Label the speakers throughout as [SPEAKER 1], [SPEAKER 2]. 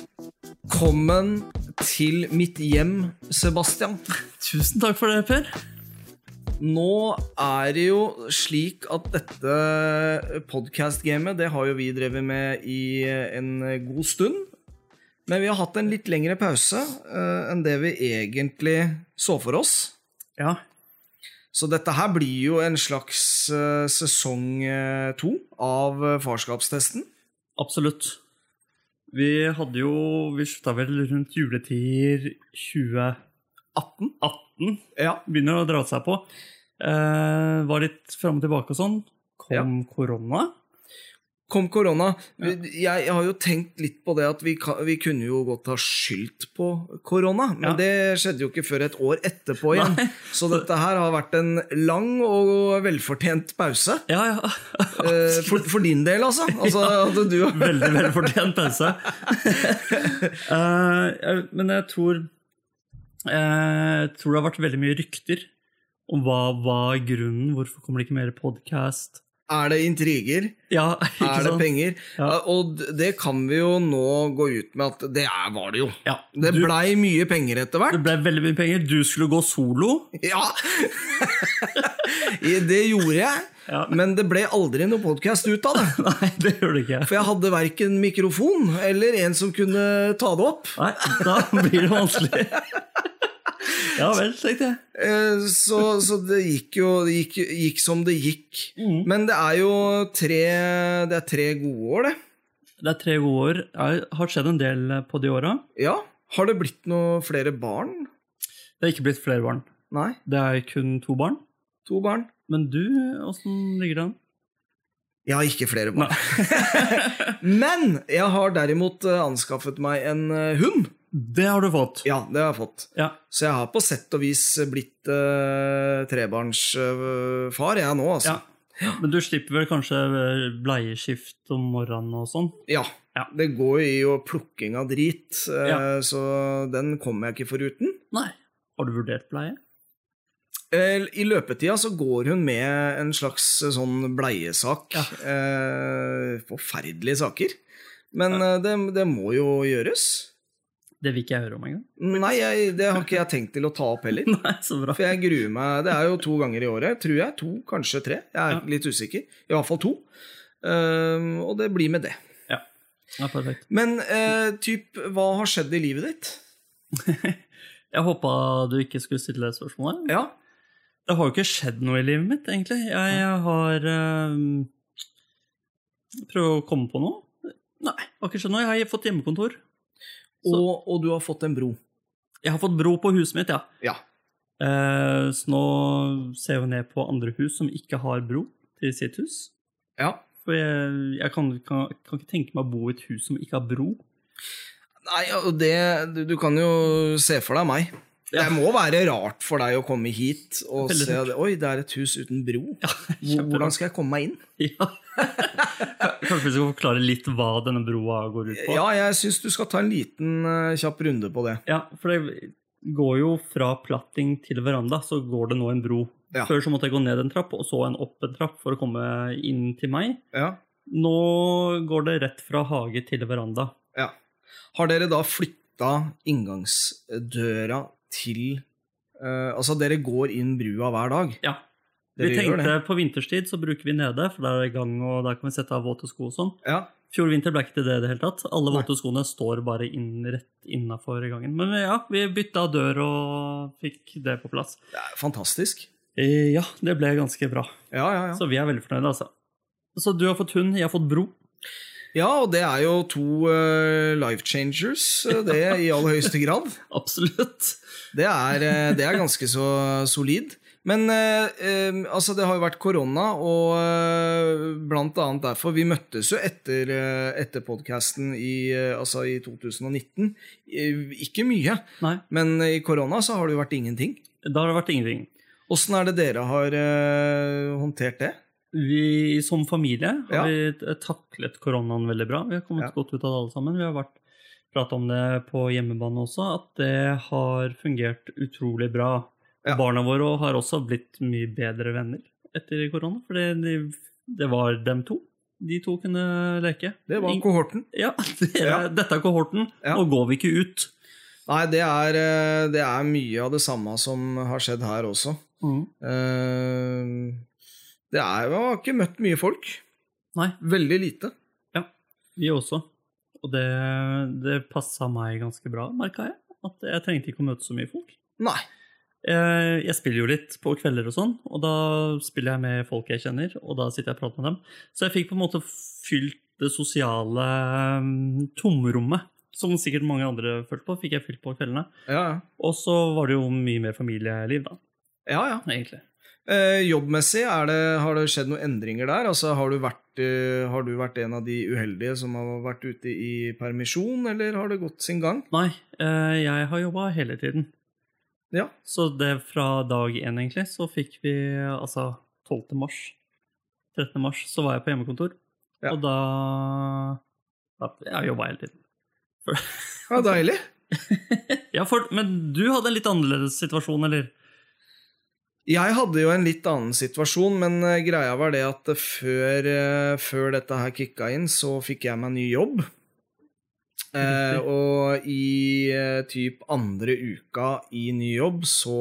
[SPEAKER 1] Velkommen til mitt hjem, Sebastian.
[SPEAKER 2] Tusen takk for det, Per.
[SPEAKER 1] Nå er det jo slik at dette podcast-gamet, det har jo vi drevet med i en god stund. Men vi har hatt en litt lengre pause eh, enn det vi egentlig så for oss.
[SPEAKER 2] Ja.
[SPEAKER 1] Så dette her blir jo en slags eh, sesong eh, to av eh, farskapstesten.
[SPEAKER 2] Absolutt. Vi hadde jo Vi slutta vel rundt juletider 2018? 18.
[SPEAKER 1] Ja.
[SPEAKER 2] Begynner å dra seg på. Eh, var litt fram og tilbake og sånn. Kom korona.
[SPEAKER 1] Kom korona. Vi- Jeg har jo tenkt litt på det at vi, kan, vi kunne jo godt ha skyldt på korona, men
[SPEAKER 2] Ja.
[SPEAKER 1] det skjedde jo ikke før et år etterpå igjen.
[SPEAKER 2] Nei.
[SPEAKER 1] Så dette her har vært en lang og velfortjent pause.
[SPEAKER 2] Ja, ja.
[SPEAKER 1] Eh, For, for din del, altså. altså at du,
[SPEAKER 2] Veldig veldig fortjent pause. Eh, jeg- men jeg tror eh, Jeg tror det har vært veldig mye rykter om hva var grunnen. Hvorfor kommer det ikke mer podkast?
[SPEAKER 1] er det intriger?
[SPEAKER 2] Ja, ikke
[SPEAKER 1] Er det
[SPEAKER 2] sant?
[SPEAKER 1] penger?
[SPEAKER 2] Ja.
[SPEAKER 1] Eh, Og d- det kan vi jo nå gå ut med at det er, var det jo.
[SPEAKER 2] Ja,
[SPEAKER 1] Det
[SPEAKER 2] du-
[SPEAKER 1] blei mye penger etter hvert.
[SPEAKER 2] Det ble veldig mye penger. Du skulle gå solo.
[SPEAKER 1] Ja! I- Det gjorde jeg,
[SPEAKER 2] Ja.
[SPEAKER 1] men det ble aldri noe podkast ut av det.
[SPEAKER 2] Nei, det gjør du ikke.
[SPEAKER 1] For jeg hadde verken mikrofon eller en som kunne ta det opp.
[SPEAKER 2] Nei, da blir det vanskelig. Ja vel, tenkte jeg.
[SPEAKER 1] Eh, Så, så det gikk jo det gikk, gikk som det gikk.
[SPEAKER 2] Mhm.
[SPEAKER 1] Men det er jo tre, det er tre gode år, det.
[SPEAKER 2] Det er tre gode år. Det har skjedd en del eh, på de åra.
[SPEAKER 1] Ja. Har det blitt noe flere barn?
[SPEAKER 2] Det er ikke blitt flere barn.
[SPEAKER 1] Nei,
[SPEAKER 2] Det er kun to barn.
[SPEAKER 1] to barn.
[SPEAKER 2] Men du, eh, åssen ligger det an?
[SPEAKER 1] Jeg har ikke flere barn. Men jeg har derimot eh, anskaffet meg en eh, hund.
[SPEAKER 2] Det har du fått.
[SPEAKER 1] Ja, det har jeg fått.
[SPEAKER 2] Ja.
[SPEAKER 1] Så jeg har på sett og vis blitt eh, trebarnsfar, jeg nå, altså.
[SPEAKER 2] ja. Men du slipper vel kanskje eh, bleieskift om morgenen og sånn?
[SPEAKER 1] Ja.
[SPEAKER 2] Ja.
[SPEAKER 1] Det går jo i å plukking av drit, eh,
[SPEAKER 2] Ja.
[SPEAKER 1] så den kommer jeg ikke foruten.
[SPEAKER 2] Nei. Har du vurdert bleie?
[SPEAKER 1] Eh, I løpetida så går hun med en slags eh, sånn bleiesak.
[SPEAKER 2] Ja.
[SPEAKER 1] Eh, forferdelige saker. Men eh, det, det må jo gjøres.
[SPEAKER 2] Det vil ikke jeg høre om engang.
[SPEAKER 1] Nei, jeg, det har ikke jeg tenkt til å ta opp heller.
[SPEAKER 2] Nei, så bra.
[SPEAKER 1] For jeg gruer meg. Det er jo to ganger i året, tror jeg. To, kanskje tre. Jeg er
[SPEAKER 2] Ja.
[SPEAKER 1] litt usikker. I hvert fall to. Eh, og det blir med det.
[SPEAKER 2] Ja, perfekt.
[SPEAKER 1] Men eh, typ, hva har skjedd i livet ditt?
[SPEAKER 2] Jeg håpa du ikke skulle stille det spørsmålet.
[SPEAKER 1] Ja.
[SPEAKER 2] Det har jo ikke skjedd noe i livet mitt, egentlig. Jeg, jeg har ehm, Prøv å komme på noe. Nei, har ikke skjedd noe. Jeg har fått hjemmekontor. Så-
[SPEAKER 1] Og, og du har fått en bro.
[SPEAKER 2] Jeg har fått bro på huset mitt, ja.
[SPEAKER 1] Ja.
[SPEAKER 2] Eh, så nå ser jeg ned på andre hus som ikke har bro til sitt hus.
[SPEAKER 1] Ja.
[SPEAKER 2] For jeg, jeg kan, kan, kan ikke tenke meg å bo i et hus som ikke har bro.
[SPEAKER 1] Nei, og det du, du kan jo se for deg meg.
[SPEAKER 2] Ja.
[SPEAKER 1] Det må være rart for deg å komme hit og
[SPEAKER 2] Veldig
[SPEAKER 1] se at Oi, det er et hus uten bro. Hvor- Hvordan skal jeg komme meg inn?
[SPEAKER 2] Ja. Kanskje vi skal forklare litt hva denne broa går ut på?
[SPEAKER 1] Ja, jeg syns du skal ta en liten eh, kjapp runde på det.
[SPEAKER 2] Ja, for det går jo fra platting til veranda, så går det nå en bro.
[SPEAKER 1] Ja.
[SPEAKER 2] Før så måtte jeg gå ned en trapp, og så en opp en trapp for å komme inn til meg.
[SPEAKER 1] Ja.
[SPEAKER 2] Nå går det rett fra hage til veranda.
[SPEAKER 1] ja. Har dere da flytta inngangsdøra til eh, Altså, dere går inn brua hver dag?
[SPEAKER 2] Ja. Vi
[SPEAKER 1] Dere gjør
[SPEAKER 2] tenkte på vinterstid så bruker vi nede, for der er det gang, og der kan vi sette av våte sko og sånn.
[SPEAKER 1] Ja.
[SPEAKER 2] Fjor vinter ble ikke til det i det hele tatt. Alle
[SPEAKER 1] Nei.
[SPEAKER 2] våte skoene står bare inn, rett innafor gangen. Men ja, vi bytta dør og fikk det på plass.
[SPEAKER 1] Det er fantastisk.
[SPEAKER 2] Eh, Ja, det ble ganske bra.
[SPEAKER 1] Ja, ja, ja.
[SPEAKER 2] Så vi er veldig fornøyde, altså. Så du har fått hund, jeg har fått bro.
[SPEAKER 1] Ja, og det er jo to eh, life changers, eh, det i aller høyeste grad.
[SPEAKER 2] Absolutt.
[SPEAKER 1] Det er, eh, det er ganske så solid. Men eh, eh, altså, det har jo vært korona, og eh, blant annet derfor Vi møttes jo etter, eh, etter podkasten i, eh, altså, i 2019. Eh, Ikke mye,
[SPEAKER 2] Nei,
[SPEAKER 1] men i korona så har det jo vært ingenting.
[SPEAKER 2] da har det vært ingenting.
[SPEAKER 1] Åssen er det dere har eh, håndtert det?
[SPEAKER 2] Vi som familie
[SPEAKER 1] Ja.
[SPEAKER 2] har vi t- eh, taklet koronaen veldig bra. Vi har kommet
[SPEAKER 1] Ja.
[SPEAKER 2] godt ut av det alle sammen. Vi har vært prata om det på hjemmebane også, at det har fungert utrolig bra.
[SPEAKER 1] Ja.
[SPEAKER 2] Barna våre har også blitt mye bedre venner etter korona, for det, det var dem to. De to kunne leke.
[SPEAKER 1] Det var
[SPEAKER 2] Ing-
[SPEAKER 1] kohorten.
[SPEAKER 2] Ja, det er,
[SPEAKER 1] Ja.
[SPEAKER 2] Dette er kohorten.
[SPEAKER 1] Ja.
[SPEAKER 2] Nå går vi ikke ut.
[SPEAKER 1] Nei, det er, eh, det er mye av det samme som har skjedd her også. Eh, Det er jo har ikke møtt mye folk.
[SPEAKER 2] Nei.
[SPEAKER 1] Veldig lite.
[SPEAKER 2] Vi også. Og det, det passa meg ganske bra, merka jeg. At jeg trengte ikke å møte så mye folk.
[SPEAKER 1] Nei.
[SPEAKER 2] Eh, Jeg spiller jo litt på kvelder og sånn, og da spiller jeg med folk jeg kjenner, og da sitter jeg og prater med dem. Så jeg fikk på en måte fylt det sosiale mm, tomrommet, som sikkert mange andre følte på, fikk jeg fylt på kveldene.
[SPEAKER 1] Ja, ja.
[SPEAKER 2] Og så var det jo mye mer familieliv, da,
[SPEAKER 1] ja, ja.
[SPEAKER 2] egentlig.
[SPEAKER 1] Eh, jobbmessig, er det, har det skjedd noen endringer der? Altså, har, du vært, eh, har du vært en av de uheldige som har vært ute i permisjon, eller har det gått sin gang?
[SPEAKER 2] Nei, eh, jeg har jobba hele tiden.
[SPEAKER 1] Ja.
[SPEAKER 2] Så det fra dag én, egentlig, så fikk vi altså 12. mars. 13. mars så var jeg på hjemmekontor,
[SPEAKER 1] Ja.
[SPEAKER 2] og da, da Jeg jobba hele tiden.
[SPEAKER 1] Ja, deilig.
[SPEAKER 2] Ja, for, men du hadde en litt annerledes situasjon, eller?
[SPEAKER 1] Jeg hadde jo en litt annen situasjon, men eh, greia var det at eh, før, eh, før dette her kicka inn, så fikk jeg meg ny jobb. Eh,
[SPEAKER 2] Riktig.
[SPEAKER 1] og i eh, typ andre uka i ny jobb, så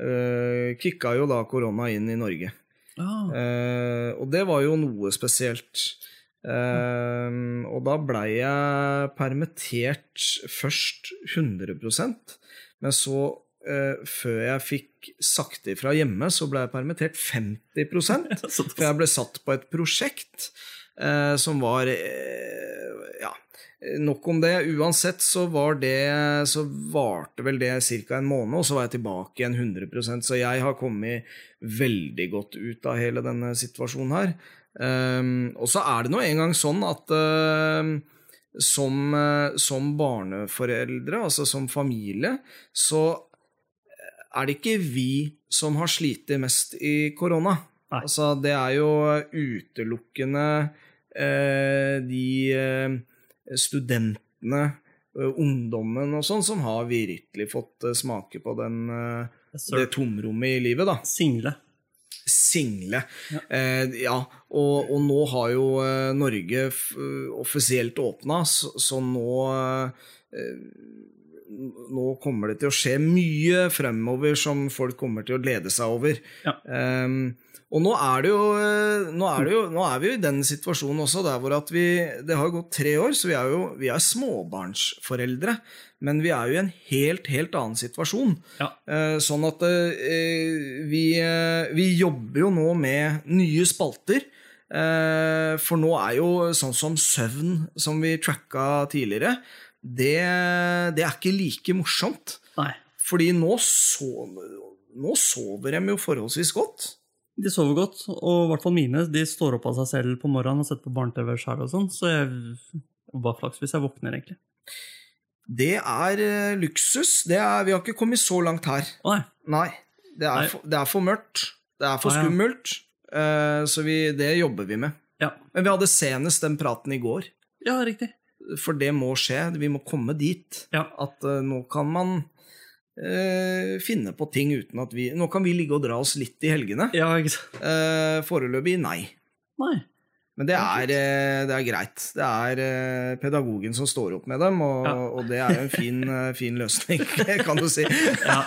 [SPEAKER 1] eh, kicka jo da korona inn i Norge.
[SPEAKER 2] Ja.
[SPEAKER 1] Eh, og det var jo noe spesielt. Eh, og da blei jeg permittert først 100 men så, eh, før jeg fikk sagt ifra hjemme, så blei jeg permittert 50
[SPEAKER 2] Eh, Så,
[SPEAKER 1] for jeg ble satt på et prosjekt eh, som var eh, Ja, nok om det. Uansett så var det Så varte vel det ca. en måned, og så var jeg tilbake igjen 100 Så jeg har kommet veldig godt ut av hele denne situasjonen her. Ehm, og så er det nå engang sånn at ehm, som, eh, som barneforeldre, altså som familie, så eh, er det ikke vi som har slitt mest i korona.
[SPEAKER 2] Nei.
[SPEAKER 1] Altså, det er jo utelukkende eh, de eh, studentene, eh, ungdommen og sånn, som har virkelig fått eh, smake på den, eh, det tomrommet i livet, da.
[SPEAKER 2] Single.
[SPEAKER 1] Single.
[SPEAKER 2] Ja.
[SPEAKER 1] Ja, eh, ja. Og, og nå har jo eh, Norge f eh, offisielt åpna, så, så nå eh, Nå kommer det til å skje mye fremover som folk kommer til å glede seg over.
[SPEAKER 2] Ja.
[SPEAKER 1] Ehm, og nå er, det jo, eh, nå, er det jo, nå er vi jo i den situasjonen også der hvor at vi Det har jo gått tre år, så vi er jo vi er småbarnsforeldre. Men vi er jo i en helt, helt annen situasjon.
[SPEAKER 2] Ja.
[SPEAKER 1] Eh, sånn at eh, vi, eh, vi jobber jo nå med nye spalter. Eh, for nå er jo sånn som søvn, som vi tracka tidligere, det, det er ikke like morsomt.
[SPEAKER 2] Nei.
[SPEAKER 1] Fordi nå, so, nå sover de jo forholdsvis godt.
[SPEAKER 2] De sover godt, og i hvert fall mine. De står opp av seg selv på morgenen og setter på barne-TV sjøl og sånn, så jeg var flaks hvis jeg våkner, egentlig.
[SPEAKER 1] Det er eh, luksus. Det er, vi har ikke kommet så langt her.
[SPEAKER 2] Å, nei.
[SPEAKER 1] Nei. Det
[SPEAKER 2] Nei.
[SPEAKER 1] er, for, det er for mørkt. Det er for
[SPEAKER 2] Ah, ja.
[SPEAKER 1] skummelt. Eh, så vi, det jobber vi med.
[SPEAKER 2] Ja.
[SPEAKER 1] Men vi hadde senest den praten i går.
[SPEAKER 2] ja, riktig.
[SPEAKER 1] For det må skje. Vi må komme dit.
[SPEAKER 2] Ja.
[SPEAKER 1] At eh, nå kan man eh, finne på ting uten at vi Nå kan vi ligge og dra oss litt i helgene.
[SPEAKER 2] Ja, ikke sant.
[SPEAKER 1] Eh, foreløpig nei.
[SPEAKER 2] Nei.
[SPEAKER 1] Men det
[SPEAKER 2] Ja,
[SPEAKER 1] er, eh, det er greit. Det er eh, pedagogen som står opp med dem, og,
[SPEAKER 2] Ja.
[SPEAKER 1] og det er jo en fin, eh, fin løsning, kan du si.
[SPEAKER 2] Ja.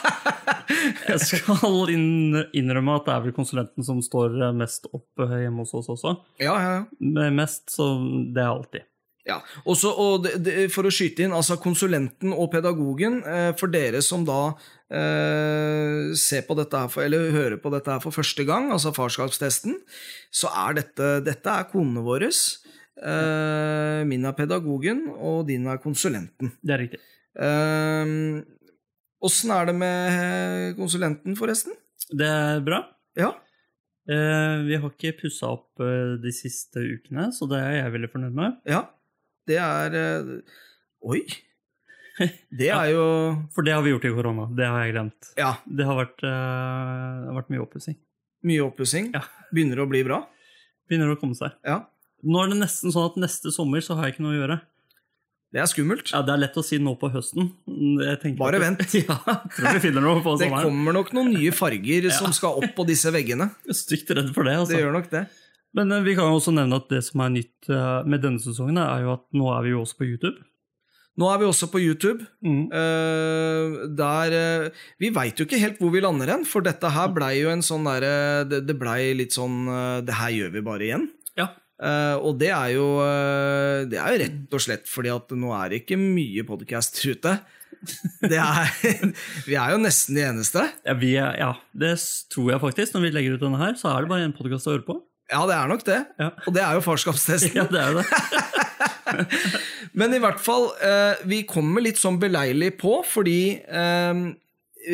[SPEAKER 2] Jeg skal inn, innrømme at det er vel konsulenten som står eh, mest opp hjemme hos oss også.
[SPEAKER 1] Ja, ja, ja.
[SPEAKER 2] Men Mest, så det er alltid.
[SPEAKER 1] Ja, og så- og det, det, For å skyte inn, altså konsulenten og pedagogen, eh, for dere som da eh, ser på dette her for, eller hører på dette her for første gang, altså farskapstesten, så er dette, dette er konene våre. Eh, min er pedagogen, og din er konsulenten. Eh,
[SPEAKER 2] Det er riktig.
[SPEAKER 1] Åssen er det med konsulenten, forresten?
[SPEAKER 2] Det er bra.
[SPEAKER 1] Ja,
[SPEAKER 2] Eh, vi har ikke pussa opp eh, de siste ukene, så det er jeg veldig fornøyd med.
[SPEAKER 1] ja. Det er eh, Oi! Det er jo
[SPEAKER 2] For det har vi gjort i korona. Det har jeg glemt.
[SPEAKER 1] Ja,
[SPEAKER 2] Det har vært, eh, det har vært mye oppussing.
[SPEAKER 1] mye oppussing.
[SPEAKER 2] Ja.
[SPEAKER 1] Begynner å bli bra.
[SPEAKER 2] Begynner å komme seg.
[SPEAKER 1] Ja.
[SPEAKER 2] Nå er det nesten sånn at neste sommer så har jeg ikke noe å gjøre.
[SPEAKER 1] Det er skummelt.
[SPEAKER 2] Ja, Det er lett å si nå på høsten. Jeg tenker
[SPEAKER 1] Bare
[SPEAKER 2] at-
[SPEAKER 1] vent.
[SPEAKER 2] ja, jeg tror vi finner noe på
[SPEAKER 1] Det
[SPEAKER 2] sommeren.
[SPEAKER 1] kommer nok noen nye farger som skal opp på disse veggene.
[SPEAKER 2] Jeg er Stygt redd for det.
[SPEAKER 1] Det
[SPEAKER 2] altså.
[SPEAKER 1] gjør nok det.
[SPEAKER 2] Men eh, vi kan jo også nevne at det som er nytt eh, med denne sesongen, er jo at nå er vi jo også på YouTube.
[SPEAKER 1] Nå er vi også på YouTube.
[SPEAKER 2] Mm.
[SPEAKER 1] Eh, der eh, Vi veit jo ikke helt hvor vi lander hen, for dette her blei jo en sånn derre det, det blei litt sånn eh, Det her gjør vi bare igjen.
[SPEAKER 2] Ja.
[SPEAKER 1] Eh, og det er jo eh, Det er jo rett og slett fordi at nå er det ikke mye podkast ute. Det er, vi er jo nesten de eneste.
[SPEAKER 2] Ja, vi er, ja, det s- tror jeg faktisk. Når vi legger ut denne her, så er det bare en podkast å høre på.
[SPEAKER 1] Ja, det er nok det.
[SPEAKER 2] Ja.
[SPEAKER 1] Og det er jo farskapstesten.
[SPEAKER 2] Ja, det er jo det.
[SPEAKER 1] Men i hvert fall, eh, vi kommer litt sånn beleilig på, fordi eh,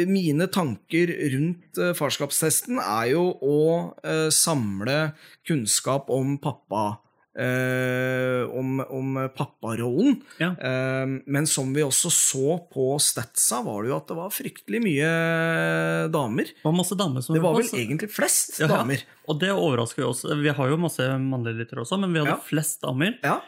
[SPEAKER 1] mine tanker rundt eh, farskapstesten er jo å eh, samle kunnskap om pappa. eh, om, om papparollen.
[SPEAKER 2] Ja.
[SPEAKER 1] Eh, men som vi også så på statsa, var det jo at det var fryktelig mye eh, damer.
[SPEAKER 2] Det var masse damer som
[SPEAKER 1] Det var
[SPEAKER 2] hørte
[SPEAKER 1] vel
[SPEAKER 2] på, så-
[SPEAKER 1] egentlig flest
[SPEAKER 2] Ja, ja.
[SPEAKER 1] damer.
[SPEAKER 2] Og det overrasker jo oss. Vi har jo masse mannlige lyttere også, men vi hadde
[SPEAKER 1] Ja.
[SPEAKER 2] flest damer.
[SPEAKER 1] Ja.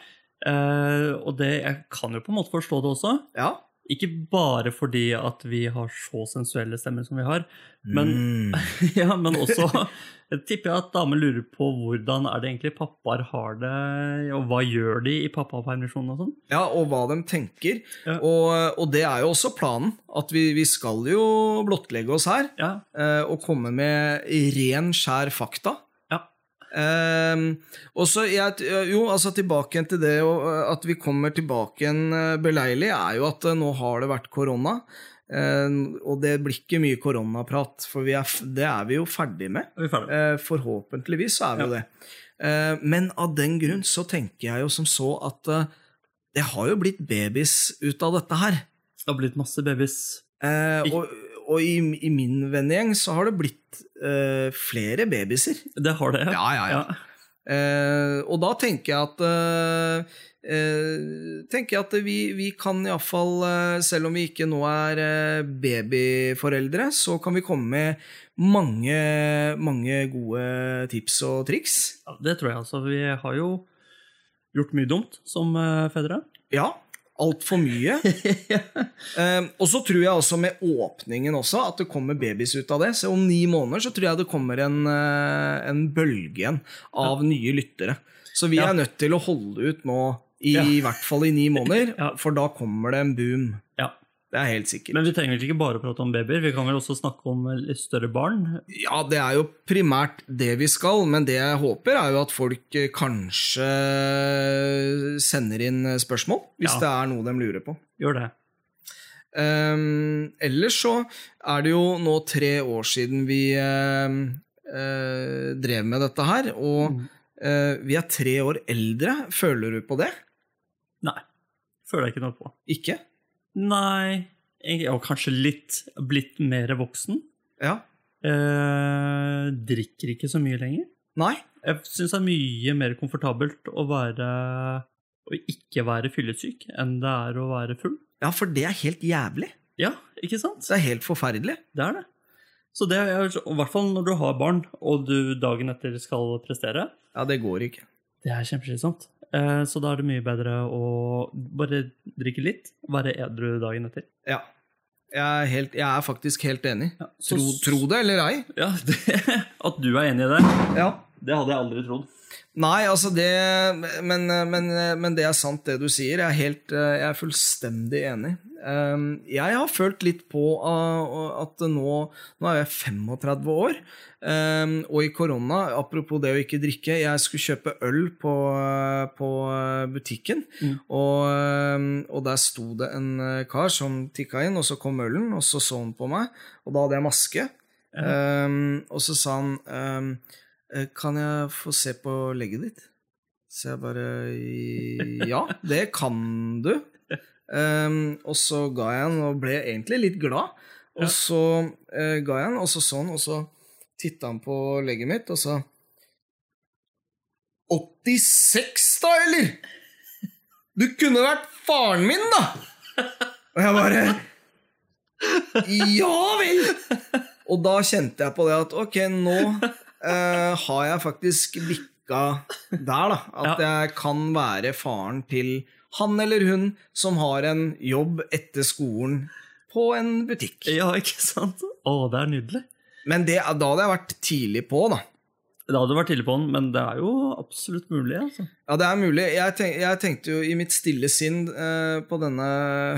[SPEAKER 2] Eh, og det, jeg kan jo på en måte forstå det også.
[SPEAKER 1] Ja.
[SPEAKER 2] Ikke bare fordi at vi har så sensuelle stemmer som vi har, Men-
[SPEAKER 1] Mm.
[SPEAKER 2] ja, men også tipper jeg at damer lurer på hvordan er det egentlig pappaer har det, og hva gjør de i pappapermisjon og sånn.
[SPEAKER 1] Ja, og hva de tenker.
[SPEAKER 2] Ja.
[SPEAKER 1] Og, og det er jo også planen, at vi, vi skal jo blottlegge oss her
[SPEAKER 2] Ja,
[SPEAKER 1] eh, og komme med ren, skjær fakta.
[SPEAKER 2] Ja.
[SPEAKER 1] Eh, og så jeg, jo, altså tilbake igjen til det og, eh, at vi kommer tilbake igjen eh, beleilig, er jo at eh, nå har det vært korona. Eh, og det blir ikke mye koronaprat, for vi er, f- det er vi jo ferdig med.
[SPEAKER 2] er vi ferdige?
[SPEAKER 1] Eh, Forhåpentligvis så er vi jo
[SPEAKER 2] Ja.
[SPEAKER 1] det. Eh, Men av den grunn så tenker jeg jo som så at eh, det har jo blitt babys ut av dette her.
[SPEAKER 2] Det har blitt masse babys.
[SPEAKER 1] Eh, Og, og i, i min vennegjeng så har det blitt eh, flere babyser.
[SPEAKER 2] Det har det.
[SPEAKER 1] ja,
[SPEAKER 2] Ja.
[SPEAKER 1] Eh, og da tenker jeg at eh, eh, tenker jeg at vi, vi kan iallfall, eh, selv om vi ikke nå er eh, babyforeldre, så kan vi komme med mange, mange gode tips og triks.
[SPEAKER 2] Ja, det tror jeg altså. Vi har jo gjort mye dumt som eh, fedre.
[SPEAKER 1] Ja, altfor mye. Eh, og så tror jeg også med åpningen også, at det kommer babys ut av det. Så om ni måneder så tror jeg det kommer en, eh, en bølge igjen av nye lyttere. Så vi
[SPEAKER 2] Ja.
[SPEAKER 1] er nødt til å holde ut nå, i,
[SPEAKER 2] Ja.
[SPEAKER 1] i hvert fall i ni måneder,
[SPEAKER 2] Ja.
[SPEAKER 1] for da kommer det en boom.
[SPEAKER 2] Ja.
[SPEAKER 1] Det er helt sikkert.
[SPEAKER 2] Men vi trenger vel ikke bare å prate om babyer, vi kan vel også snakke om litt større barn?
[SPEAKER 1] Ja, det er jo primært det vi skal, men det jeg håper er jo at folk eh, kanskje sender inn eh, spørsmål, hvis
[SPEAKER 2] Ja.
[SPEAKER 1] det er noe de lurer på.
[SPEAKER 2] Gjør det.
[SPEAKER 1] Um, ellers så er det jo nå tre år siden vi um, eh, drev med dette her, og
[SPEAKER 2] Mm.
[SPEAKER 1] eh, vi er tre år eldre. Føler du på det?
[SPEAKER 2] Nei. Føler jeg ikke noe på.
[SPEAKER 1] Ikke?
[SPEAKER 2] Nei egentlig- Og kanskje litt blitt mer voksen.
[SPEAKER 1] Ja?
[SPEAKER 2] Eh, drikker ikke så mye lenger.
[SPEAKER 1] Nei?
[SPEAKER 2] Jeg syns det er mye mer komfortabelt å være Å ikke være fyllesyk enn det er å være full.
[SPEAKER 1] Ja, for det er helt jævlig.
[SPEAKER 2] Ja, ikke sant?
[SPEAKER 1] Det er helt forferdelig.
[SPEAKER 2] Det er det. Så det er, og I hvert fall når du har barn, og du dagen etter skal prestere.
[SPEAKER 1] Ja, det går ikke.
[SPEAKER 2] Det er kjempeslitsomt. Eh, Så da er det mye bedre å bare drikke litt, være edru dagen etter.
[SPEAKER 1] Ja. Jeg er, helt, jeg er faktisk helt enig.
[SPEAKER 2] Ja,
[SPEAKER 1] Tro, tro det eller ei.
[SPEAKER 2] Ja, det, At du er enig i det,
[SPEAKER 1] Ja.
[SPEAKER 2] det hadde jeg aldri trodd.
[SPEAKER 1] Nei, altså det men, men, men det er sant, det du sier. Jeg er, helt, eh, jeg er fullstendig enig. Um, Jeg har følt litt på ah, at nå, nå er jeg 35 år, um, og i korona, apropos det å ikke drikke Jeg skulle kjøpe øl på, eh, på eh, butikken,
[SPEAKER 2] Mm.
[SPEAKER 1] og, um, og der sto det en eh, kar som tikka inn, og så kom ølen, og så så han på meg, og da hadde jeg maske. Um, og så sa han um, Eh, Kan jeg få se på legget ditt? Så jeg bare eh, Ja, det kan du. Ehm, og så ga jeg den, og ble egentlig litt glad. Og
[SPEAKER 2] Ja.
[SPEAKER 1] så eh, ga jeg den, og så så han, og så titta han på legget mitt og sa 86, da, eller? Du kunne vært faren min, da! Og jeg bare Ja vel! Og da kjente jeg på det at ok, nå eh, har jeg faktisk bikka der, da. At jeg kan være faren til han eller hun som har en jobb etter skolen på en butikk.
[SPEAKER 2] Ja, ikke sant? Å, det er nydelig.
[SPEAKER 1] Men det, da hadde jeg vært tidlig på, da.
[SPEAKER 2] Det hadde vært ille på den, men det er jo absolutt mulig. altså.
[SPEAKER 1] Ja, det er mulig. Jeg, tenk, jeg tenkte jo i mitt stille sinn eh, på denne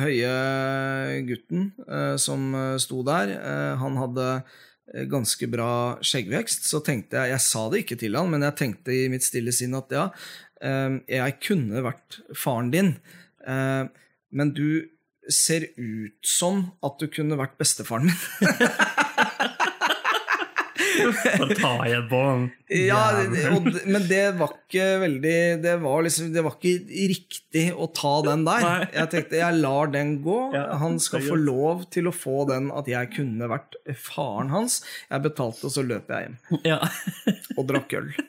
[SPEAKER 1] høye gutten eh, som eh, sto der. Eh, han hadde eh, ganske bra skjeggvekst, så tenkte jeg Jeg sa det ikke til han, men jeg tenkte i mitt stille sinn at ja, eh, jeg kunne vært faren din, eh, men du ser ut som at du kunne vært bestefaren min.
[SPEAKER 2] Bare ta igjen på den.
[SPEAKER 1] Ja,
[SPEAKER 2] Jævlig.
[SPEAKER 1] det- og, d- men det var ikke veldig Det var liksom Det var ikke riktig å ta den
[SPEAKER 2] Nei.
[SPEAKER 1] der. Jeg tenkte jeg lar den gå.
[SPEAKER 2] Ja,
[SPEAKER 1] Han skal
[SPEAKER 2] det er
[SPEAKER 1] få
[SPEAKER 2] greit.
[SPEAKER 1] lov til å få den at jeg kunne vært faren hans. Jeg betalte, og så løp jeg hjem
[SPEAKER 2] Ja.
[SPEAKER 1] og drakk øl.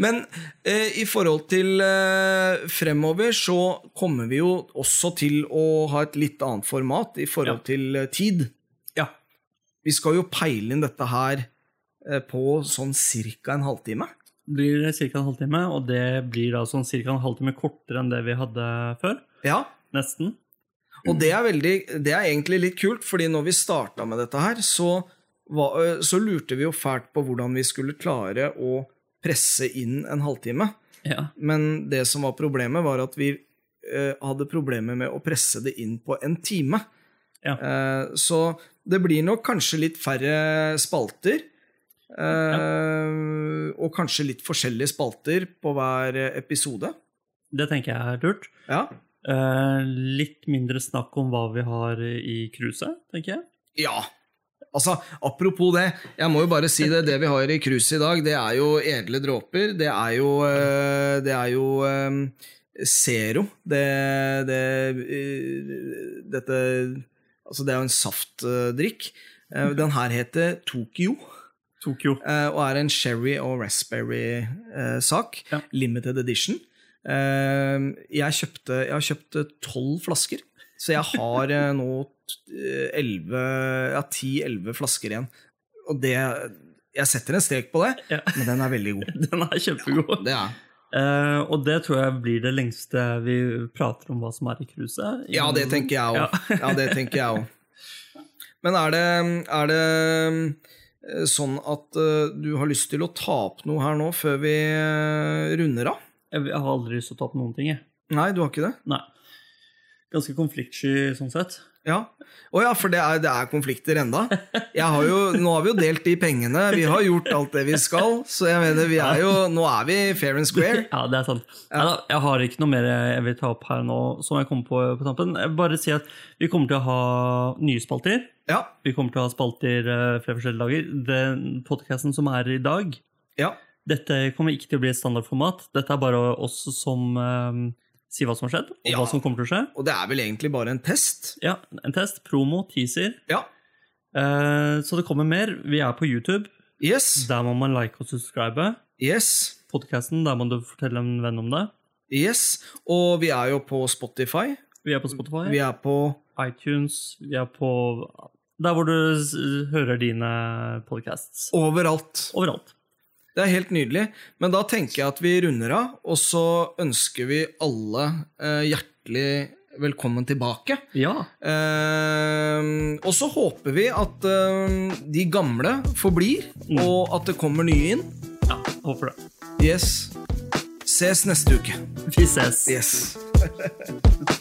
[SPEAKER 1] Men eh, i forhold til eh, fremover så kommer vi jo også til å ha et litt annet format i forhold
[SPEAKER 2] Ja.
[SPEAKER 1] til eh, tid.
[SPEAKER 2] Ja.
[SPEAKER 1] Vi skal jo peile inn dette her eh, på sånn ca. en halvtime.
[SPEAKER 2] Blir ca. en halvtime, og det blir da sånn ca. en halvtime kortere enn det vi hadde før.
[SPEAKER 1] Ja,
[SPEAKER 2] Nesten.
[SPEAKER 1] Og det er, veldig, det er egentlig litt kult, fordi når vi starta med dette her, så, var, ø, så lurte vi jo fælt på hvordan vi skulle klare å presse inn en halvtime.
[SPEAKER 2] Ja.
[SPEAKER 1] Men det som var problemet, var at vi ø, hadde problemer med å presse det inn på en time.
[SPEAKER 2] Ja.
[SPEAKER 1] Eh, så det blir nok kanskje litt færre spalter. eh, Og kanskje litt forskjellige spalter på hver episode.
[SPEAKER 2] Det tenker jeg er lurt.
[SPEAKER 1] Ja.
[SPEAKER 2] Eh, litt mindre snakk om hva vi har i cruiset, tenker jeg.
[SPEAKER 1] Ja. Altså, Apropos det, jeg må jo bare si det. Det vi har i cruiset i dag, det er jo edle dråper. Det er jo eh, Det er jo eh, Zero. Det, det eh, Dette Altså, det er jo en saftdrikk. Eh, Den her heter Tokyo
[SPEAKER 2] Tokyo.
[SPEAKER 1] eh, og er en sherry og raspberry-sak.
[SPEAKER 2] Ja.
[SPEAKER 1] Limited edition. Eh, Jeg, kjøpte, jeg har kjøpt eh, tolv flasker, så jeg har eh, nå eh, elleve Ja, ti-elleve flasker igjen. Og det Jeg setter en strek på det,
[SPEAKER 2] Ja.
[SPEAKER 1] men den er veldig god.
[SPEAKER 2] Den er kjempegod.
[SPEAKER 1] Det er.
[SPEAKER 2] Eh, og det tror jeg blir det lengste vi prater om hva som er i cruiset.
[SPEAKER 1] Ja, det tenker jeg òg. Ja, det tenker jeg òg. Men er det, er det eh, sånn at eh, du har lyst til å ta opp noe her nå før vi eh, runder av?
[SPEAKER 2] Jeg jeg har aldri lyst til å ta opp noen ting, jeg.
[SPEAKER 1] Nei, du har ikke det?
[SPEAKER 2] Nei. Ganske konfliktsky sånn sett.
[SPEAKER 1] Ja. Å ja, for det er, det er konflikter enda. Jeg har jo, nå har vi jo delt de pengene, vi har gjort alt det vi skal, så jeg mener, vi er jo, nå er vi fair and square.
[SPEAKER 2] Ja, det er sant. Neida, jeg har ikke noe mer jeg vil ta opp her nå som jeg kom på på tampen. Jeg vil Bare si at vi kommer til å ha nye spalter.
[SPEAKER 1] Ja,
[SPEAKER 2] Vi kommer til å ha spalter eh, flere forskjellige dager. Den podkasten som er i dag,
[SPEAKER 1] ja,
[SPEAKER 2] dette kommer ikke til å bli et standardformat. Dette er bare oss som eh, sier hva som har skjedd, og
[SPEAKER 1] Ja.
[SPEAKER 2] hva som kommer til å skje.
[SPEAKER 1] og det er vel egentlig bare en test.
[SPEAKER 2] Ja, En test, promo, teaser.
[SPEAKER 1] Ja,
[SPEAKER 2] Eh, så det kommer mer. Vi er på YouTube.
[SPEAKER 1] yes,
[SPEAKER 2] Der må man like og subscribe.
[SPEAKER 1] yes,
[SPEAKER 2] Podkasten, der må du fortelle en venn om det.
[SPEAKER 1] yes. Og vi er jo på Spotify,
[SPEAKER 2] Vi er på Spotify.
[SPEAKER 1] vi er på,
[SPEAKER 2] iTunes, vi er på Der hvor du s- hører dine podcasts.
[SPEAKER 1] overalt.
[SPEAKER 2] Overalt.
[SPEAKER 1] Det er helt nydelig. Men da tenker jeg at vi runder av, og så ønsker vi alle eh, hjertelig velkommen tilbake.
[SPEAKER 2] Ja.
[SPEAKER 1] Ehm, og så håper vi at ehm, de gamle forblir, og at det kommer nye inn.
[SPEAKER 2] ja håper det.
[SPEAKER 1] Yes. Ses neste uke.
[SPEAKER 2] Vi ses.
[SPEAKER 1] Yes.